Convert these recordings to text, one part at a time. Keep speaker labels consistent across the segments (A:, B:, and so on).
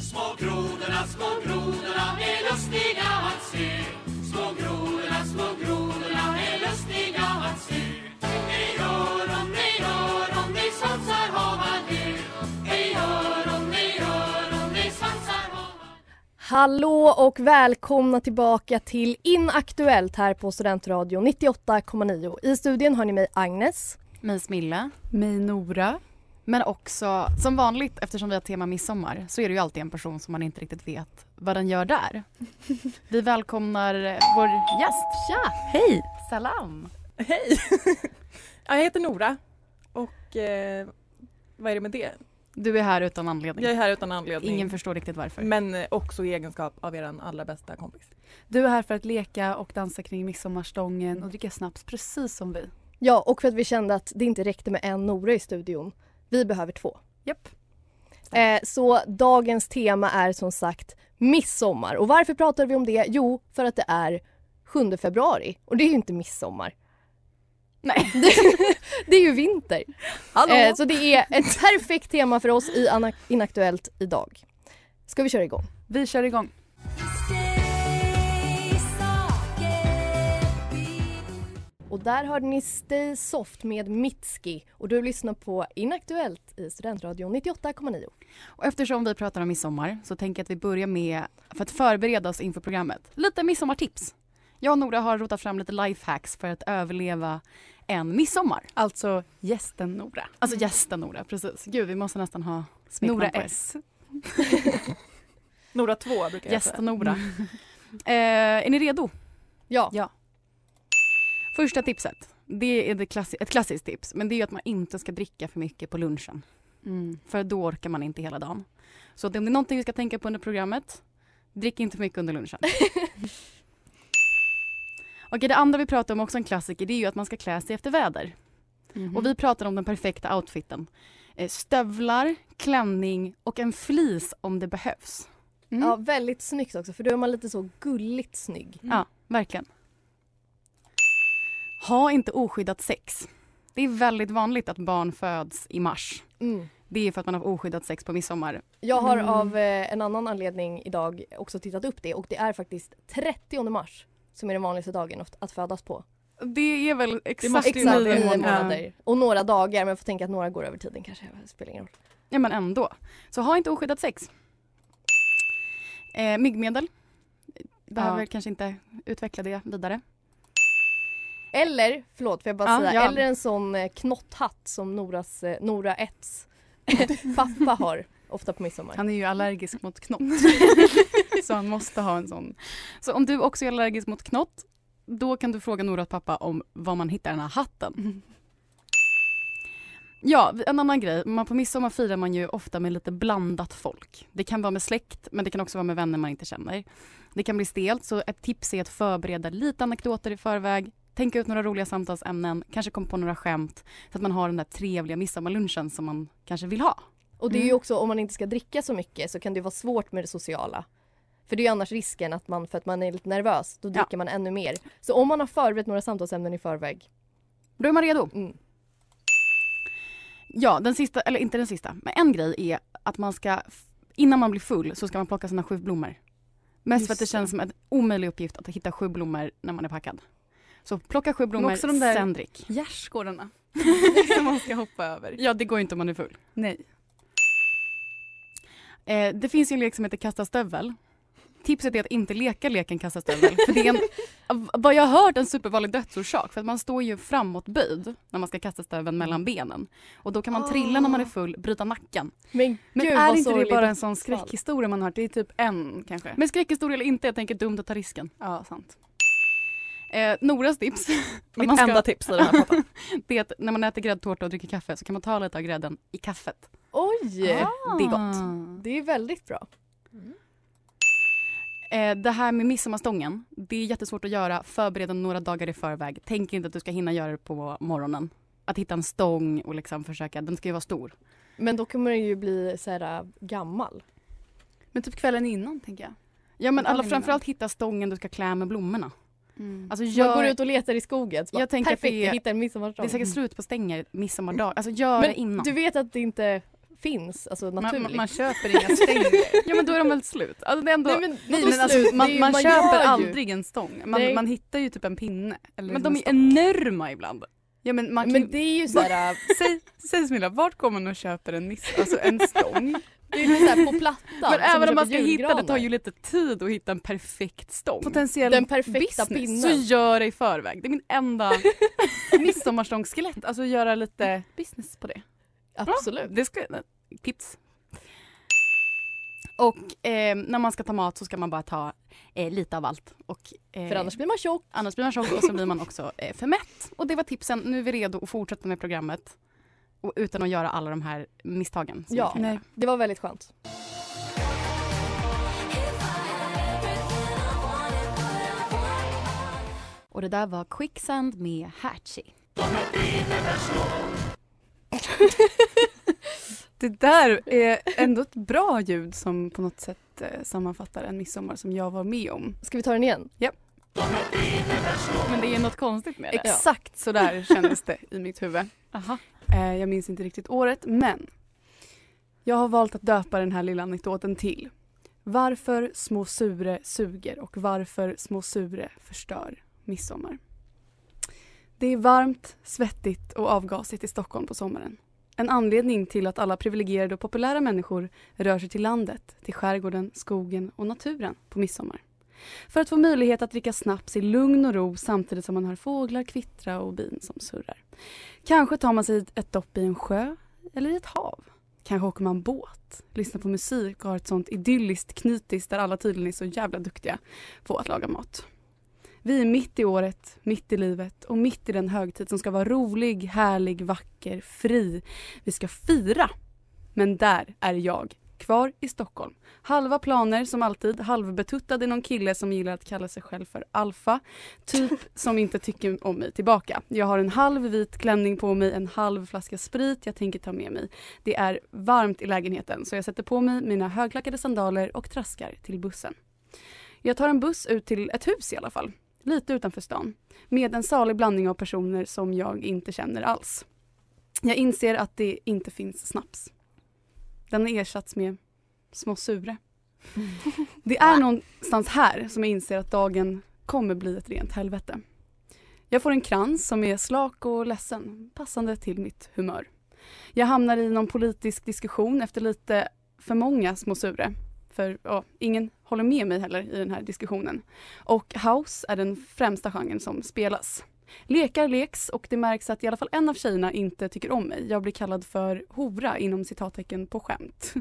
A: Små grodorna, små grodorna är lustiga att se Små grodorna, små grodorna är lustiga att se Ej öron, ej öron, ej svansar hava de Ej öron, ej öron, ej svansar hava
B: Hallå och välkomna tillbaka till Inaktuellt här på Studentradion 98,9. I studion hör ni mig Agnes.
C: Mig Smilla.
D: Mig Nora.
C: Men också, som vanligt eftersom vi har tema midsommar så är det ju alltid en person som man inte riktigt vet vad den gör där. Vi välkomnar eh, vår gäst. Tja!
D: Hej!
C: Salam!
E: Hej! Ja, jag heter Nora och eh, vad är det med det?
C: Du är här utan anledning.
E: Jag är här utan anledning.
C: Ingen förstår riktigt varför.
E: men eh, också i egenskap av er allra bästa kompis.
C: Du är här för att leka och dansa kring midsommarstången och dricka snaps precis som vi.
B: Ja, och för att vi kände att det inte räckte med en Nora i studion. Vi behöver två.
C: Japp.
B: Eh, så dagens tema är som sagt midsommar. Och varför pratar vi om det? Jo, för att det är 7 februari och det är ju inte midsommar.
C: Nej.
B: Det är ju vinter.
E: Hallå!
B: Eh, så det är ett perfekt tema för oss i Ana- Inaktuellt idag. Ska vi köra igång?
C: Vi kör igång.
B: Och där hörde ni Stay Soft med Mitski och du lyssnar på Inaktuellt i Studentradion 98,9.
C: Och eftersom vi pratar om midsommar så tänker jag att vi börjar med, för att förbereda oss inför programmet, lite midsommartips. Jag och Nora har rotat fram lite lifehacks för att överleva en midsommar.
D: Alltså gästen Nora.
C: Alltså gästen Nora, precis. Gud, vi måste nästan ha smeknamn
D: Nora
C: på er.
D: S.
E: Nora 2 brukar jag säga. Mm.
C: Gästen Nora. eh, är ni redo?
B: Ja.
C: Ja. Första tipset, det är det klassi- ett klassiskt tips, men det är ju att man inte ska dricka för mycket på lunchen. Mm. För då orkar man inte hela dagen. Så om det är någonting vi ska tänka på under programmet, drick inte för mycket under lunchen. Okej, det andra vi pratar om, också en klassiker, det är ju att man ska klä sig efter väder. Och vi pratar om den perfekta outfiten. Eh, Stövlar, klänning och en fleece om det behövs.
D: Mm.
B: ja, väldigt snyggt också för då är man lite så gulligt snygg.
C: Ja, verkligen. Ha inte oskyddat sex. Det är väldigt vanligt att barn föds i mars.
B: Mm.
C: Det är för att man har oskyddat sex på midsommar.
B: Jag har av eh, en annan anledning idag också tittat upp det och det är faktiskt 30 mars som är den vanligaste dagen att- att födas på.
C: Det är väl exakt,
E: måste ju
B: Exakt
E: nio
B: nio
E: månader.
B: månader. Och några dagar men får tänka att några går över tiden kanske. Det spelar ingen roll.
C: Ja, men ändå. Så ha inte oskyddat sex. Eh, myggmedel. Behöver
D: Ja.
C: kanske inte utveckla det vidare.
B: Eller, förlåt får jag bara
C: Ja,
B: säga,
C: ja.
B: eller en sån eh, knotthatt som Noras, eh, Nora 1s pappa har ofta på midsommar.
D: Han är ju allergisk mot knopp.
C: Så han måste ha en sån. Så om du också är allergisk mot knott, då kan du fråga Noras pappa om var man hittar den här hatten. Ja, en annan grej. Man på midsommar firar man ju ofta med lite blandat folk. Det kan vara med släkt, men det kan också vara med vänner man inte känner. Det kan bli stelt, så ett tips är att förbereda lite anekdoter i förväg. Tänka ut några roliga samtalsämnen, kanske komma på några skämt så att man har den där trevliga midsommarlunchen som man kanske vill ha.
B: Och det är
A: Mm.
B: ju också om man inte ska dricka så mycket så kan det ju vara svårt med det sociala. För det är ju annars risken att man, för att man är lite nervös, då dricker man ännu mer. Så om man har förberett några samtalsämnen i förväg.
C: Då är man redo.
B: Mm.
C: Ja, den sista, eller inte den sista, men en grej är att man ska, innan man blir full så ska man plocka sina sju blommor.
A: Mest
C: Just
A: för att det
C: det.
A: känns som en omöjlig uppgift att hitta sju blommor när man är packad. Så plocka sju
C: också
A: blommor,
C: de där-
A: sen drick.
C: Gärdsgårdarna som man ska hoppa över.
A: Ja, det går inte om man är full.
C: Nej.
A: Eh, det finns ju en lek som heter kasta stövel. Tipset är att inte leka leken kasta stövel. För det är en, av vad jag har hört, en supervanlig dödsorsak. För att man står ju framåtböjd när man ska kasta stöveln mellan benen. Och då kan man trilla när man är full, bryta nacken.
B: Men,
C: Men
B: gud
C: är
B: vad
C: inte det
B: sorgligt.
C: bara en sån skräckhistoria man har hört? Det är typ en kanske.
A: Men skräckhistoria eller inte, jag tänker dumt att ta risken.
C: ja, sant.
A: Eh, Noras tips.
F: Mitt
A: man ska-
F: enda tips i den här podden.
A: Det är att när man äter gräddtårta och dricker kaffe så kan man ta lite av grädden i kaffet.
B: Oj!
A: Det är gott.
B: Det är väldigt bra.
A: Eh, det här med midsommarstången, det är jättesvårt att göra. Förbered den några dagar i förväg. Tänk inte att du ska hinna göra det på morgonen. Att hitta en stång och liksom försöka, den ska ju vara stor.
B: Men då kommer den ju bli så här äh, gammal.
C: Men typ kvällen innan tänker jag.
A: Ja men alla,
C: Dagen
A: framförallt hitta stången du ska klä med blommorna.
C: Mm.
A: Alltså
B: Man
A: gör,
B: går ut och letar i skogen. Så bara,
A: Jag tänker att
B: perfekt,
A: det är-
B: jag hittar en midsommarstång.
A: det är säkert slut på stänger midsommardag. Alltså gör det innan.
B: Men du vet att det inte finns, alltså naturligt.
C: man, man, man köper inga stänger.
A: Ja men då är de väl slut. Alltså det är ändå...
B: Nej
A: men,
B: men,
C: Nej
B: vadå
C: men alltså
B: slut? Det är
C: man,
B: ju-
C: man,
B: gör
C: köper
B: ju.
C: aldrig en stång. Man,
B: Nej.
C: man hittar ju typ en pinne. Eller
A: de
C: en
A: är
C: stång.
A: enorma ibland.
C: Ja men man kan
B: Men det är ju såhär,
C: Säg, säg Smilla, vart går man och köper en, miss, alltså en stång?
B: det är ju såhär på plattan.
A: men
B: som
A: även om man ska
B: köper
A: hitta det
B: julgranar.
A: tar ju lite tid att hitta en perfekt stång.
C: Potentiell
B: Den perfekta
A: Så
B: pinnen.
A: gör det i förväg. Det är min enda...
C: midsommarstångskelett, alltså göra lite business på det.
B: Absolut.
A: Det ska, tips. Och eh, när man ska ta mat så ska man bara ta eh, lite av allt. Och, eh,
B: För annars blir man tjock.
A: annars blir man tjock och så blir man också eh, för mätt. Och det var tipsen. Nu är vi redo att fortsätta med programmet. Och utan att göra alla de här misstagen. som
B: Ja.
A: vi kan göra.
B: Det var väldigt skönt.
A: Och det där var Quicksand med Hatchie.
C: Det där är ändå ett bra ljud som på något sätt eh, sammanfattar en midsommar som jag var med om.
B: Ska vi ta den igen?
A: Men det är något konstigt med det.
C: Exakt så där kändes det i mitt huvud.
A: Aha.
C: Eh, jag minns inte riktigt året, men jag har valt att döpa den här lilla anekdoten till Varför små sure suger och varför små sure förstör midsommar. Det är varmt, svettigt och avgasigt i Stockholm på sommaren. En anledning till att alla privilegierade och populära människor rör sig till landet, till skärgården, skogen och naturen på midsommar. För att få möjlighet att dricka snaps i lugn och ro samtidigt som man hör fåglar kvittra och bin som surrar. Kanske tar man sig ett- ett dopp i en sjö eller i ett hav. Kanske åker man båt, lyssnar på musik och har ett sånt idylliskt knytis där alla tydligen är så jävla duktiga på att laga mat. Vi är mitt i året, mitt i livet och mitt i den högtid som ska vara rolig, härlig, vacker, fri. Vi ska fira. Men där är jag, kvar i Stockholm. Halva planer som alltid, halvbetuttad i någon kille som gillar att kalla sig själv för alfa. Typ som inte tycker om mig tillbaka. Jag har en halv vit klänning på mig, en halv flaska sprit jag tänker ta med mig. Det är varmt i lägenheten så jag sätter på mig mina högklackade sandaler och traskar till bussen. Jag tar en buss ut till ett hus i alla fall, lite utanför stan, med en salig blandning av personer som jag inte känner alls. Jag inser att det inte finns snaps. Den har ersatts med små sure. Det är någonstans här som jag inser att dagen kommer bli ett rent helvete. Jag får en krans som är slak och ledsen, passande till mitt humör. Jag hamnar i någon politisk diskussion efter lite för många små sure. För ja, ingen håller med mig heller i den här diskussionen. Och house är den främsta genren som spelas. Lekar leks och det märks att i alla fall en av tjejerna inte tycker om mig. Jag blir kallad för hora inom citattecken på skämt.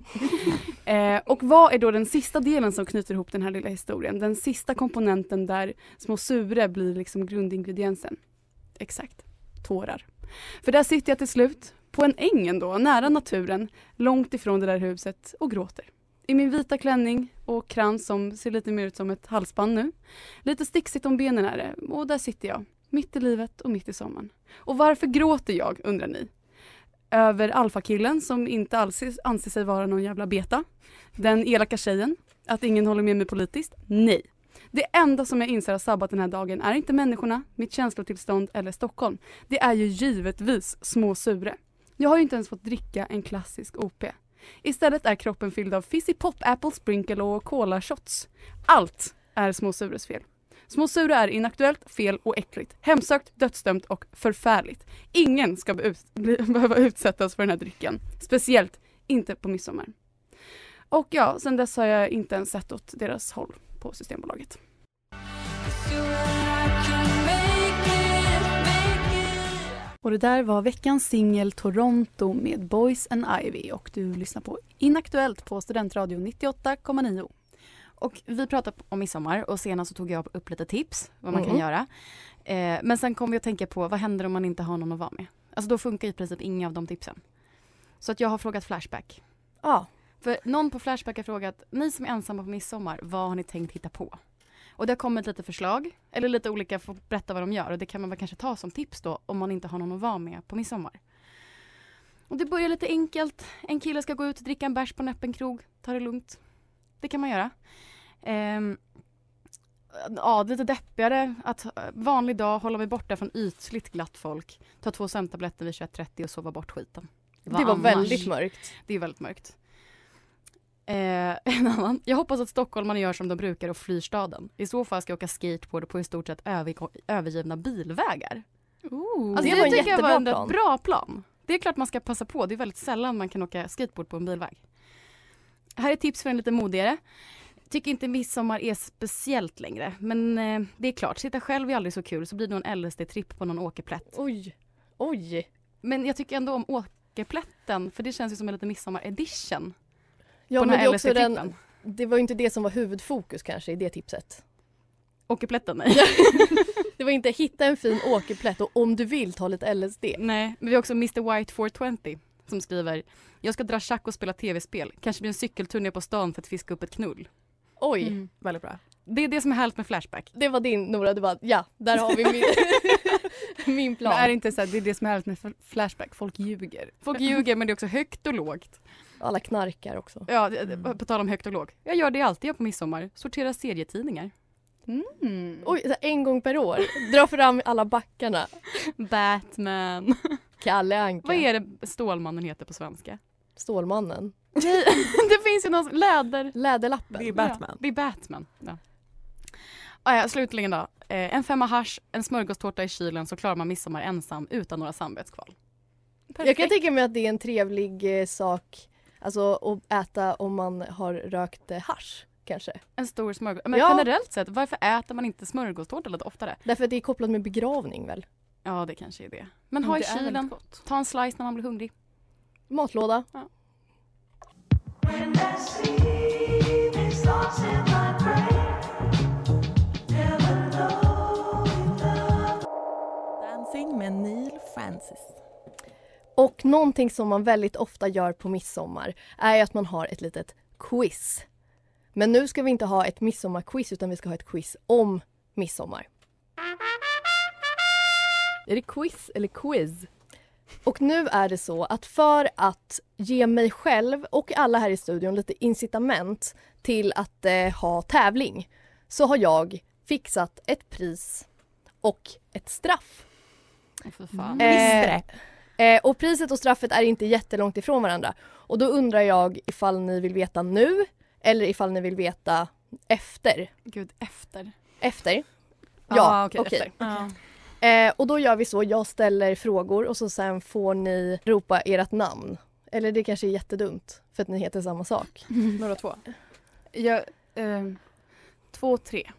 C: eh, och vad är då den sista delen som knyter ihop den här lilla historien? Den sista komponenten där små sure blir liksom grundingrediensen. Exakt, tårar. För där sitter jag till slut, på en äng ändå, nära naturen, långt ifrån det där huset och gråter. I min vita klänning och krans som ser lite mer ut som ett halsband nu. Lite sticksigt om benen är det och där sitter jag, mitt i livet och mitt i sommaren. Och varför gråter jag, undrar ni? Över alfakillen som inte alls anser sig vara någon jävla beta. Den elaka tjejen. Att ingen håller med mig politiskt. Nej. Det enda som jag inser har sabbat den här dagen är inte människorna, mitt känslotillstånd eller Stockholm. Det är ju givetvis små sure. Jag har ju inte ens fått dricka en klassisk OP.
D: Istället är kroppen fylld av fizzy pop, apple sprinkle och cola shots. Allt är Små Sures fel. Små Sure är inaktuellt, fel och äckligt. Hemsökt, dödsdömt och förfärligt. Ingen ska be- ut- bli, behöva utsättas för den här drycken. Speciellt inte på midsommar. Och ja, sen dess har jag inte ens sett åt deras håll på Systembolaget. Och det där var veckans singel Toronto med Boys and Ivy och du lyssnar på Inaktuellt på Studentradion 98,9.
C: Och vi pratade om midsommar och senast så tog jag upp lite tips vad man
B: Mm.
C: kan göra. Eh, men sen kom vi att tänka på vad händer om man inte har någon att vara med? Alltså då funkar i princip inga av de tipsen. Så att jag har frågat Flashback.
B: Ja.
C: För någon på Flashback har frågat, ni som är ensamma på midsommar, vad har ni tänkt hitta på? Och det har kommit lite förslag, eller lite olika, får berätta vad de gör och det kan man väl kanske ta som tips då om man inte har någon att vara med på midsommar. Och det börjar lite enkelt, en kille ska gå ut och dricka en bärs på en öppen krog, ta det lugnt. Det kan man göra. Ehm, ja, lite deppigare. Att eh, vanlig dag, hålla mig borta från ytligt glatt folk. Ta två sömntabletter vid 21.30 och sova bort skiten.
B: Det var väldigt mörkt.
C: Det är väldigt mörkt. Eh, en annan. Jag hoppas att stockholmarna gör som de brukar och flyr staden. I så fall ska jag åka skateboard på i stort sett överg- övergivna bilvägar. Alltså,
B: Det
C: det
B: var en
C: tycker jag var en
B: jättebra plan.
C: bra plan. Det är klart man ska passa på. Det är väldigt sällan man kan åka skateboard på en bilväg. Här är tips för en lite modigare. Tycker inte midsommar är speciellt längre. Men eh, det är klart, sitta själv är aldrig så kul. Så blir det någon LSD-tripp på någon åkerplätt.
B: Oj. Oj.
C: Men jag tycker ändå om åkerplätten. För det känns ju som en lite midsommar-edition.
B: Ja,
C: på
B: men
C: den
B: det, är
C: här
B: också
C: LSD-trippen.
B: den, det var ju inte det som var huvudfokus kanske i det tipset.
C: Åkerplätten, nej.
B: Det var inte hitta en fin åkerplätt och om du vill ta lite LSD.
C: nej. Men vi har också Mr White 420 som skriver Jag ska dra schack och spela tv-spel. Kanske blir en cykeltur ner på stan för att fiska upp ett knull.
B: Oj.
C: Mm.
E: Väldigt bra.
C: Det är det som är härligt med Flashback.
B: Det var din Nora, du bara ja, där har vi min, min plan.
D: Men är det inte så här, det är det som är härligt med f- Flashback, folk ljuger.
C: Folk ljuger men det är också högt och lågt.
B: Alla knarkar också.
C: Ja, det- det- på tal om högt och lågt. Jag gör det alltid jag på midsommar. Sortera serietidningar.
B: Oj, så här, en gång per år. Dra fram alla backarna.
C: Batman.
B: Kalle Anka.
C: Vad är det Stålmannen heter på svenska?
B: Stålmannen.
C: Nej, det finns ju någon som- läder...
B: Läderlappen.
E: Det är Batman.
C: Ja, det är Batman. Ja. Ah, ja, slutligen då. Eh, en femma hasch, en smörgåstårta i kylen så klarar man midsommar ensam utan några samvetskval.
B: Jag kan tänka mig att det är en trevlig eh, sak alltså, att äta om man har rökt eh, hasch kanske.
C: En stor smörgås... Men
B: Ja.
C: generellt sett, varför äter man inte smörgåstårta lite oftare?
B: Därför att det är kopplat med begravning väl?
C: Ja, det kanske är det. Men ha i
D: Det är väldigt
C: kylen.
D: gott.
C: Ta en slice när man blir hungrig.
B: Matlåda.
E: Dancing med Neil Francis.
B: Och någonting som man väldigt ofta gör på midsommar är ju att man har ett litet quiz. Men nu ska vi inte ha ett midsommarquiz utan vi ska ha ett quiz om midsommar.
G: Är det quiz eller quiz?
B: Och nu är det så att för att ge mig själv och alla här i studion lite incitament till att eh, ha tävling så har jag fixat ett pris och ett straff.
C: Åh, för fan.
D: Mm.
B: Eh, eh, och priset och straffet är inte jättelångt ifrån varandra. Och då undrar jag ifall ni vill veta nu eller ifall ni vill veta efter.
D: Eh,
C: Gud, efter.
B: Efter?
C: Ja, Ah, okej,
B: Eh, och då gör vi så, jag ställer frågor och så sen får ni ropa ert namn. Eller det kanske är jättedumt för att ni heter samma sak.
E: Mm. Några två.
D: Jag, eh, två, tre.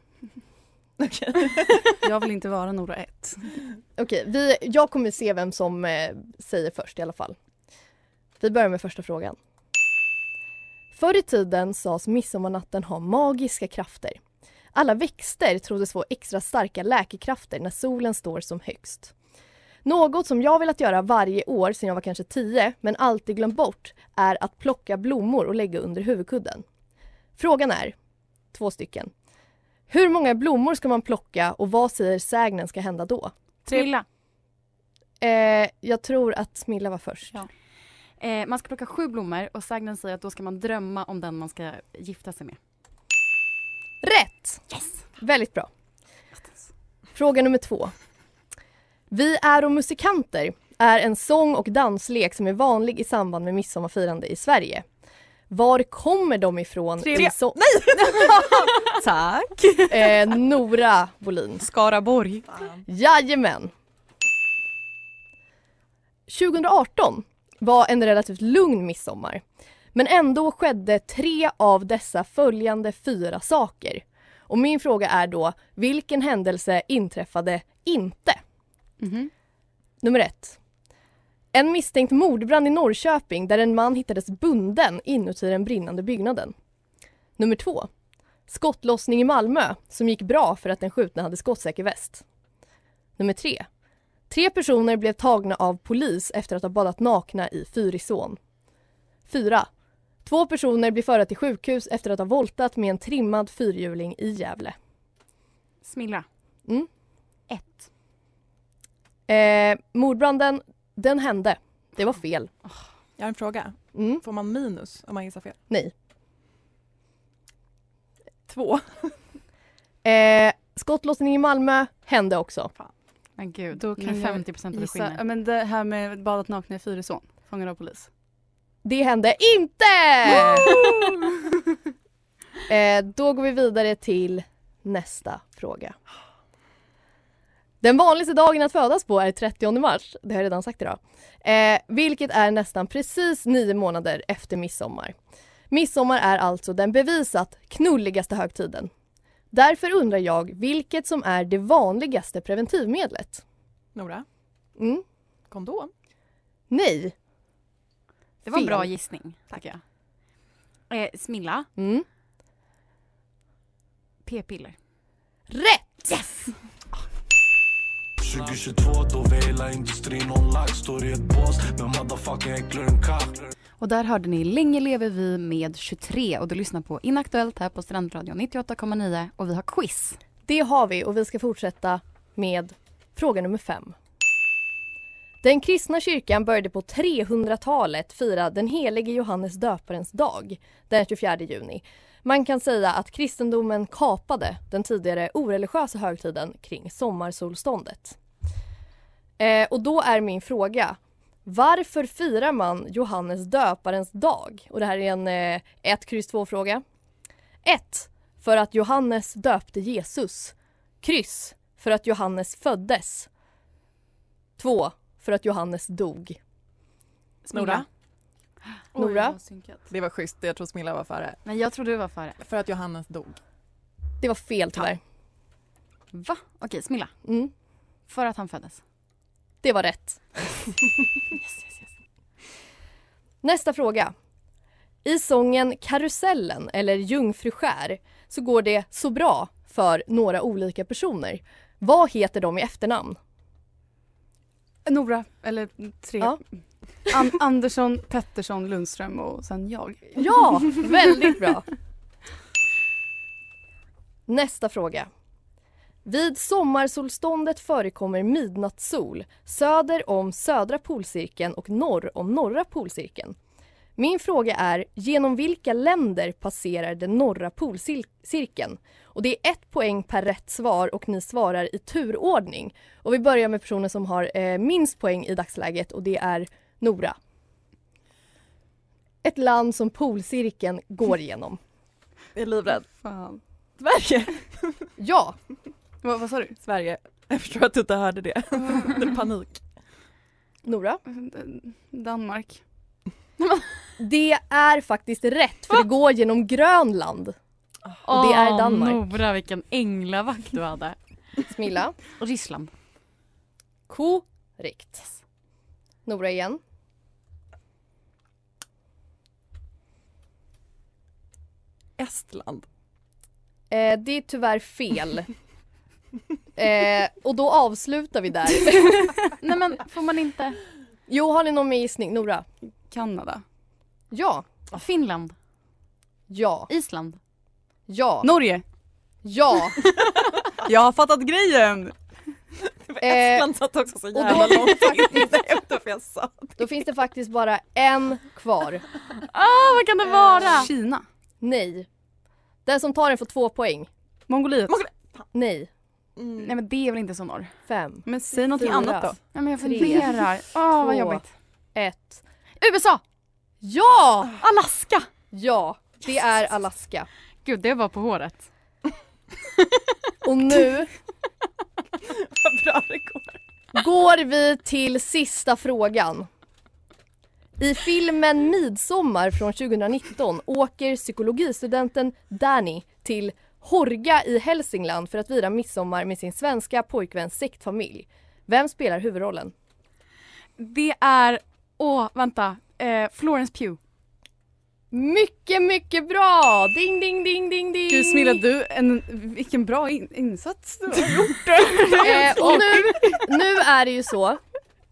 D: Jag vill inte vara Nora ett.
B: Okej, vi, jag kommer se vem som eh, säger först i alla fall. Vi börjar med första frågan. Förr i tiden sades midsommarnatten ha magiska krafter. Alla växter troddes få extra starka läkekrafter när solen står som högst. Något som jag velat göra varje år sedan jag var kanske 10 men alltid glömt bort är att plocka blommor och lägga under huvudkudden. Frågan är, två stycken. Hur många blommor ska man plocka och vad säger sägnen ska hända då?
C: Trilla.
B: Eh, jag tror att Smilla var först.
C: Ja. Eh, man ska plocka sju blommor och sägnen säger att då ska man drömma om den man ska gifta sig med.
B: Rätt!
C: Yes!
B: Väldigt bra. Fråga nummer två. Vi är och musikanter är en sång och danslek som är vanlig i samband med midsommarfirande i Sverige. Var kommer de ifrån?
E: Trevliga.
B: så-
H: Tack.
B: eh, Nora Bolin.
H: Skaraborg.
B: Jajamän! 2018 var en relativt lugn midsommar. Men ändå skedde tre av dessa följande fyra saker. Och min fråga är då, vilken händelse inträffade inte?
C: Mhm.
B: Nummer ett. En misstänkt mordbrand i Norrköping där en man hittades bunden inuti den brinnande byggnaden. Nummer två. Skottlossning i Malmö som gick bra för att den skjutna hade skottsäker väst. Nummer tre. Tre personer blev tagna av polis efter att ha badat nakna i Fyrisån. Fyra. Två personer blir förda till sjukhus efter att ha voltat med en trimmad fyrhjuling i Gävle.
C: Smilla.
B: Mm.
C: Ett.
B: Eh, mordbranden, den hände. Det var fel.
E: Jag har en fråga.
B: Mm,
E: Får man minus om man gissar fel?
B: nej.
E: Två.
B: Eh, skottlossning i Malmö hände också.
C: Men gud,
D: Då kan
C: med
D: jag
C: 50 procent av det
D: Gissa, ja,
C: skillnaden.
D: men det här med badat nakna i Fyrisån, fångad av polis.
B: Det hände inte! eh, då går vi vidare till nästa fråga. Den vanligaste dagen att födas på är 30 mars, det har jag redan sagt idag. Eh, vilket är nästan precis nio månader efter midsommar. Midsommar är alltså den bevisat knulligaste högtiden. Därför undrar jag vilket som är det vanligaste preventivmedlet?
E: Nora,
B: Mm,
E: kondom.
B: nej.
C: Det var en bra
B: Fel.
C: gissning, tycker jag. Eh, Smilla.
B: Mm,
C: P-piller.
B: rätt!
I: 2022 då vi hela industrin online står i ett bås med motherfucking äcklare än kack
C: Och där hörde ni Länge lever vi med 23 och du lyssnar på Inaktuellt här på Strandradion 98,9 och vi har quiz.
B: Det har vi och vi ska fortsätta med fråga nummer fem. Den kristna kyrkan började på 300-talet fira den helige Johannes döparens dag den 24 juni. Man kan säga att kristendomen kapade den tidigare oreligiösa högtiden kring sommarsolståndet. Eh, och då är min fråga, varför firar man Johannes döparens dag? Och det här är en 1, eh, 2 fråga. 1. För att Johannes döpte Jesus. Kryss. För att Johannes föddes. 2. För att Johannes dog.
E: Nora.
B: Nora?
D: Oj, synkat.
E: Det var schysst, jag tror Smilla var före.
C: Nej, jag trodde du var före.
E: För att Johannes dog.
B: Det var fel tyvärr.
C: Va? Okej, Smilla.
B: Mm,
C: För att han föddes.
B: det var rätt.
C: Yes, yes, yes.
B: Nästa fråga. I sången Karusellen eller Jungfru skär så går det så bra för några olika personer. Vad heter de i efternamn?
D: Nora, eller tre.
B: Ja.
D: An- Andersson, Pettersson, Lundström och sen jag.
B: Ja, väldigt bra. Nästa fråga. Vid sommarsolståndet förekommer midnattssol söder om södra polcirkeln och norr om norra polcirkeln. Min fråga är genom vilka länder passerar den norra polcirkeln? Och det är ett poäng per rätt svar och ni svarar i turordning. Och vi börjar med personen som har eh, minst poäng i dagsläget och det är Nora. Ett land som polcirkeln går igenom.
E: Jag är livrädd.
D: Fan.
E: Sverige.
B: Ja,
D: Vad, vad sa du?
E: Sverige. Jag förstår att du inte hörde det. det är panik.
B: Nora.
D: Danmark.
B: Det är faktiskt rätt för det går genom Grönland. Och det är Danmark.
C: Nora, vilken änglavakt du hade.
B: Smilla.
C: Och Ryssland.
B: Korrekt. Nora igen.
E: Estland.
B: Eh, det är tyvärr fel. Eh, och då avslutar vi där.
C: Nej men får man inte?
B: Jo, har ni någon mer gissning? Nora?
D: Kanada.
B: Ja.
C: Finland.
B: Ja.
C: Island.
B: Ja.
D: Norge.
B: Ja.
H: Jag har fattat grejen.
B: Eh,
E: Estland satt också så
B: då-
E: jävla långt inne efter för jag sa.
B: då finns det faktiskt bara en kvar.
C: Åh, vad kan det vara?
D: Kina.
B: Nej. Den som tar den får två poäng.
D: Mongoliet.
B: Nej.
C: Nej men det är väl inte så norr?
B: Fem.
D: Men säg någonting
B: Fyra.
D: annat då.
C: Nej men jag
B: Tre,
C: funderar. Åh vad
B: två.
C: jobbigt.
B: Ett.
C: USA!
B: Ja!
C: Alaska!
B: Ja, det är Alaska.
C: Gud, det var på håret.
B: Och nu
E: Vad bra det går.
B: går vi till sista frågan. I filmen Midsommar från 2019 åker psykologistudenten Danny till Horga i Hälsingland för att fira midsommar med sin svenska pojkväns sektfamilj. Vem spelar huvudrollen?
C: Det är, åh vänta, eh, Florence Pugh.
B: Mycket, mycket bra! Ding, ding, ding, ding, ding!
D: Gud Smilla, du, en, vilken bra in, insats du har gjort.
B: Eh, och nu, nu är det ju så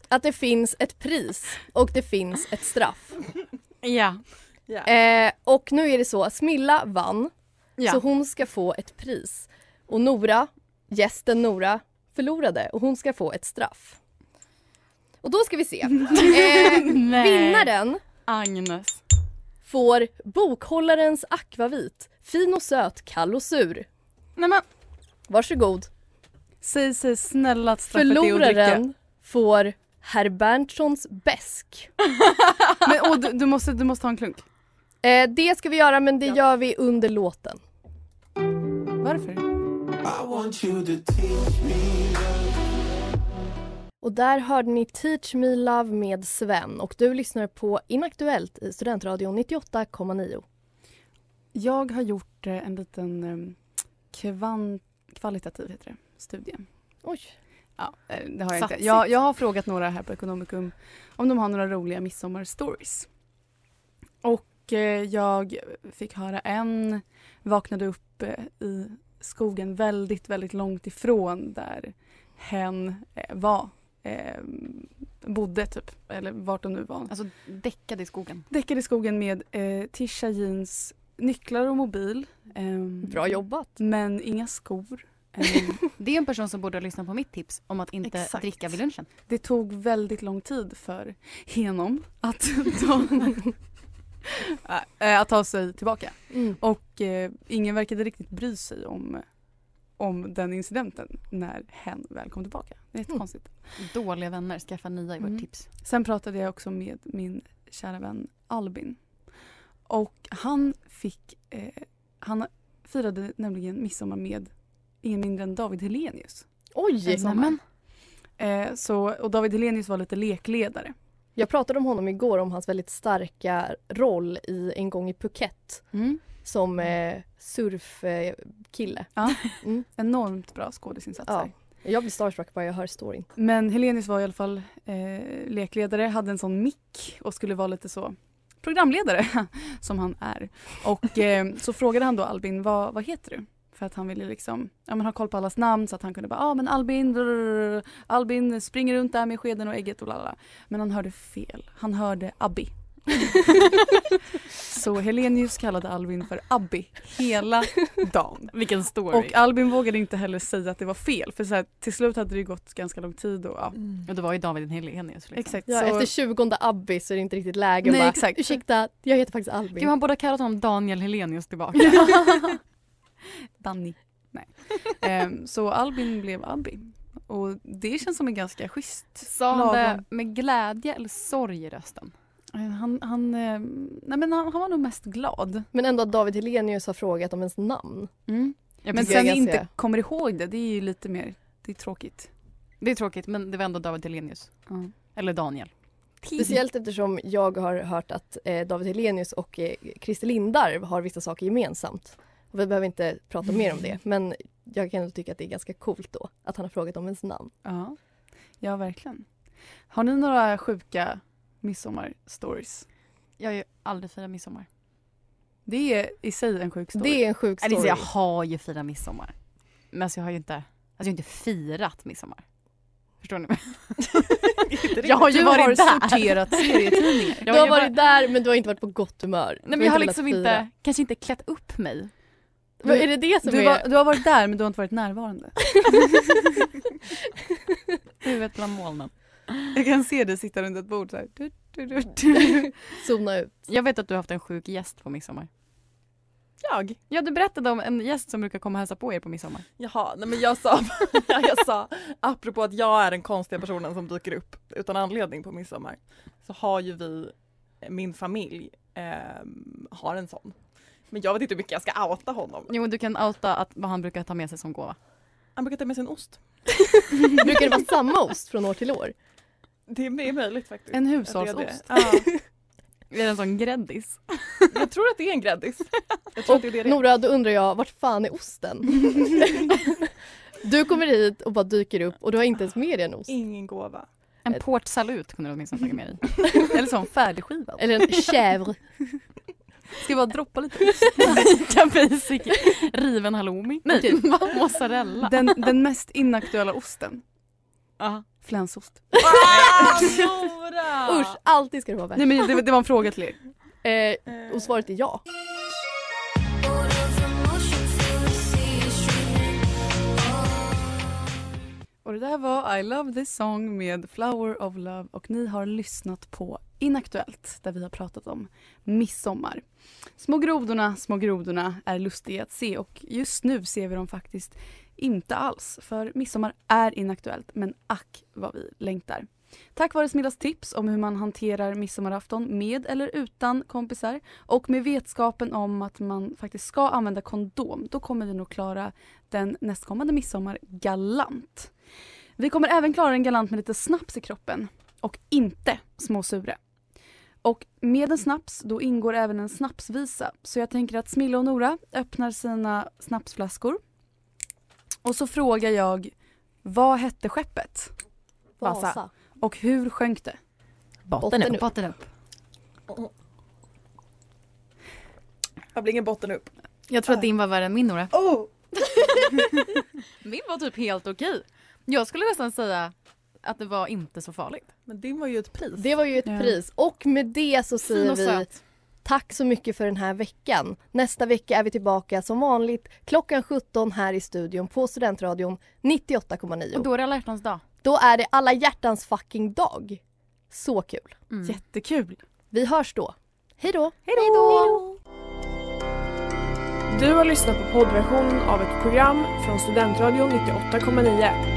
B: att det finns ett pris och det finns ett straff.
C: Ja.
B: Eh, och nu är det så att Smilla vann
C: Ja.
B: så hon ska få ett pris. Och Nora, gästen Nora, förlorade och hon ska få ett straff. Och då ska vi se. Eh, vinnaren
C: Agnes.
B: får bokhållarens akvavit. Fin och söt, kall och sur.
C: Nej men,
B: Varsågod.
D: Säg, säg snälla att straffet är att dricka.
B: Förloraren får herr Berntssons bäsk.
D: Men, åh, du, du, måste, du måste ha en klunk.
B: Eh, det ska vi göra men det gör vi under låten.
D: Varför?
I: I want you to teach me
B: Och där hörde ni Teach Me Love med Sven och du lyssnar på Inaktuellt i Studentradion 98,9.
D: Jag har gjort eh, en liten eh, kvan, kvalitativ heter det, studie.
B: Oj.
D: Ja, eh, det har jag
C: Satsigt.
D: inte. Jag, jag har frågat några här på Ekonomikum om de har några roliga midsommarstories. Och eh, jag fick höra en, vaknade upp eh, i skogen väldigt, väldigt långt ifrån där hen eh, var, eh, bodde typ, eller vart de nu var.
C: alltså däckade i skogen.
D: Däckade i skogen med eh, Tisha Jeans nycklar och mobil. ehm,
B: Bra jobbat.
D: Men inga skor. Ehm,
C: Det är en person som borde ha lyssnat på mitt tips om att inte
D: Exakt.
C: dricka vid lunchen.
D: det tog väldigt lång tid för Henom att ta, Eh, att ta sig tillbaka.
B: Mm.
D: Och eh, ingen verkade riktigt bry sig om, om den incidenten när hen väl kom tillbaka. Det är jättekonstigt.
C: Dåliga vänner, skaffa nya i vårt
D: Mm.
C: tips.
D: Sen pratade jag också med min kära vän Albin. Och han fick, eh, han firade nämligen midsommar med ingen mindre än David Helenius.
B: Oj!
D: En sommar. Eh, så, och David Helenius var lite lekledare.
B: Jag pratade om honom igår om hans väldigt starka roll i En gång i Phuket
C: Mm.
B: som eh, surfkille. Eh, kille.
D: Enormt bra skådisinsatser.
B: ja. Jag blir starstruck bara jag hör storyn.
D: Men Helenius var i alla fall eh, lekledare, hade en sån mick och skulle vara lite så programledare som han är. Och eh, så frågade han då Albin, vad, vad heter du? För att han ville liksom, ja men ha koll på allas namn så att han kunde bara, ja ah, men Albin, drrrr, Albin springer runt där med skeden och ägget och lalala. Men han hörde fel, han hörde Abbi. så Helenius kallade Albin för Abbi hela dagen.
C: Vilken story.
D: Och Albin vågade inte heller säga att det var fel för så här, till slut hade det ju gått ganska lång tid och ja.
C: Och det var ju David Helenius. Liksom.
D: Exakt.
B: Ja,
D: så,
B: efter 20 Abbi så är det inte riktigt läge att
D: Nej,
B: bara
D: exakt.
B: ursäkta, jag heter faktiskt Albin.
C: Gud, han borde ha kallat honom Daniel Helenius tillbaka.
D: Danny. Nej. Ehm, så Albin blev Abbi. Och det känns som en ganska schysst.
C: Sa han det
D: Lagom.
C: med glädje eller sorg i rösten?
D: Eh, Han, han, eh, nej men han, han var nog mest glad.
B: Men ändå att David Helenius har frågat om ens namn.
C: Jag
D: Men
B: precis.
D: sen
B: Jag kan
D: inte
B: se.
D: kommer ihåg det, det är ju lite mer, det är tråkigt.
C: Det är tråkigt men det var ändå David Helenius.
D: Ja.
C: Eller Daniel. Mm.
B: Speciellt eftersom jag har hört att eh, David Helenius och eh, Christer Lindarw har vissa saker gemensamt. Och vi behöver inte prata mer om det, men jag kan ändå tycka att det är ganska coolt då att han har frågat om ens namn.
D: Ja. ja, verkligen. Har ni några sjuka midsommar-stories?
C: Jag har ju aldrig firat midsommar.
D: Det är i sig en sjuk story.
B: Det är en sjuk
C: Eller
B: story.
C: så jag har ju firat midsommar. Men alltså jag har ju inte, alltså jag har ju inte firat midsommar. Förstår ni? jag har ju
D: du
C: varit
D: har
C: där.
D: sorterat serietidningar.
C: Jag
B: Du har
C: ju bara-
B: varit där men du har inte varit på gott humör. Du
C: Nej men jag har
B: velat
C: liksom
B: fira.
C: inte, kanske inte klätt upp mig.
B: Vad är det det som
D: Du,
B: är?
D: var, du har varit där men du har inte varit närvarande.
C: Huvudet bland molnen.
D: Jag kan se dig sitta runt ett bord så här. Du, du, du,
B: Zona ut.
C: Jag vet att du har haft en sjuk gäst på midsommar.
E: Jag?
C: Ja du berättade om en gäst som brukar komma och hälsa på er på midsommar.
E: Jaha, nej men jag sa, ja, jag sa apropå att jag är den konstiga personen som dyker upp utan anledning på midsommar så har ju vi, eh, min familj, ehm, har en sån. Men jag vet inte hur mycket jag ska outa honom.
C: Jo, du kan outa att, vad han brukar ta med sig som gåva.
E: Han brukar ta med sig en ost.
B: Brukar det vara samma ost från år till år?
E: Det är är möjligt faktiskt.
C: En
E: att det är det.
C: hushållsost.
E: Ja,
C: Är det en sån gräddis?
E: jag tror att det är en gräddis. Jag tror att det är det. det är.
B: Nora, då undrar jag, vart fan är osten? du kommer hit och bara dyker upp och du har inte ens med dig en ost.
E: Ingen gåva.
C: En
B: Ett-
C: portsalut kunde du åtminstone tagit med dig. Eller sån färdigskivad.
B: Eller en chèvre.
H: Ska jag bara droppa lite?
C: Ica basic. Riven halloumi. Nej, va? mozzarella.
D: Den, den mest inaktuella osten.
C: Ja.
D: Flänsost.
C: Nora!
B: Usch, alltid ska det vara värt.
D: Nej men det, det var en fråga till er.
B: Eh, och svaret är ja.
D: Och det där var I love this song med Flower of Love och ni har lyssnat på Inaktuellt där vi har pratat om midsommar. Små grodorna, små grodorna är lustiga att se och just nu ser vi dem faktiskt inte alls för midsommar är inaktuellt men ack vad vi längtar. Tack vare Smillas tips om hur man hanterar midsommarafton med eller utan kompisar och med vetskapen om att man faktiskt ska använda kondom då kommer vi nog klara den nästkommande midsommar galant. Vi kommer även klara en galant med lite snaps i kroppen och inte småsure. Och med en snaps då ingår även en snapsvisa så jag tänker att Smilla och Nora öppnar sina snapsflaskor och så frågar jag vad hette skeppet Vasa. och hur sjönk det?
B: Botten upp.
C: Botten upp.
E: Jag blir ingen botten upp.
C: Jag tror att din var värre än min Nora.
E: Oh!
C: Min var typ helt okej. Jag skulle nästan säga att det var inte så farligt.
E: Men det var ju ett pris.
B: Det var ju ett
D: Ja.
B: pris och med det så
C: Fin
B: säger
C: och
B: vi
C: söt.
B: tack så mycket för den här veckan. Nästa vecka är vi tillbaka som vanligt klockan 17 här i studion på Studentradion 98,9.
C: Och då är det alla hjärtans dag.
B: Då är det alla hjärtans fucking dag. Så kul.
C: Mm.
D: Jättekul!
B: Vi hörs då. Hej då!
J: Du har lyssnat på poddversionen av ett program från Studentradion 98,9.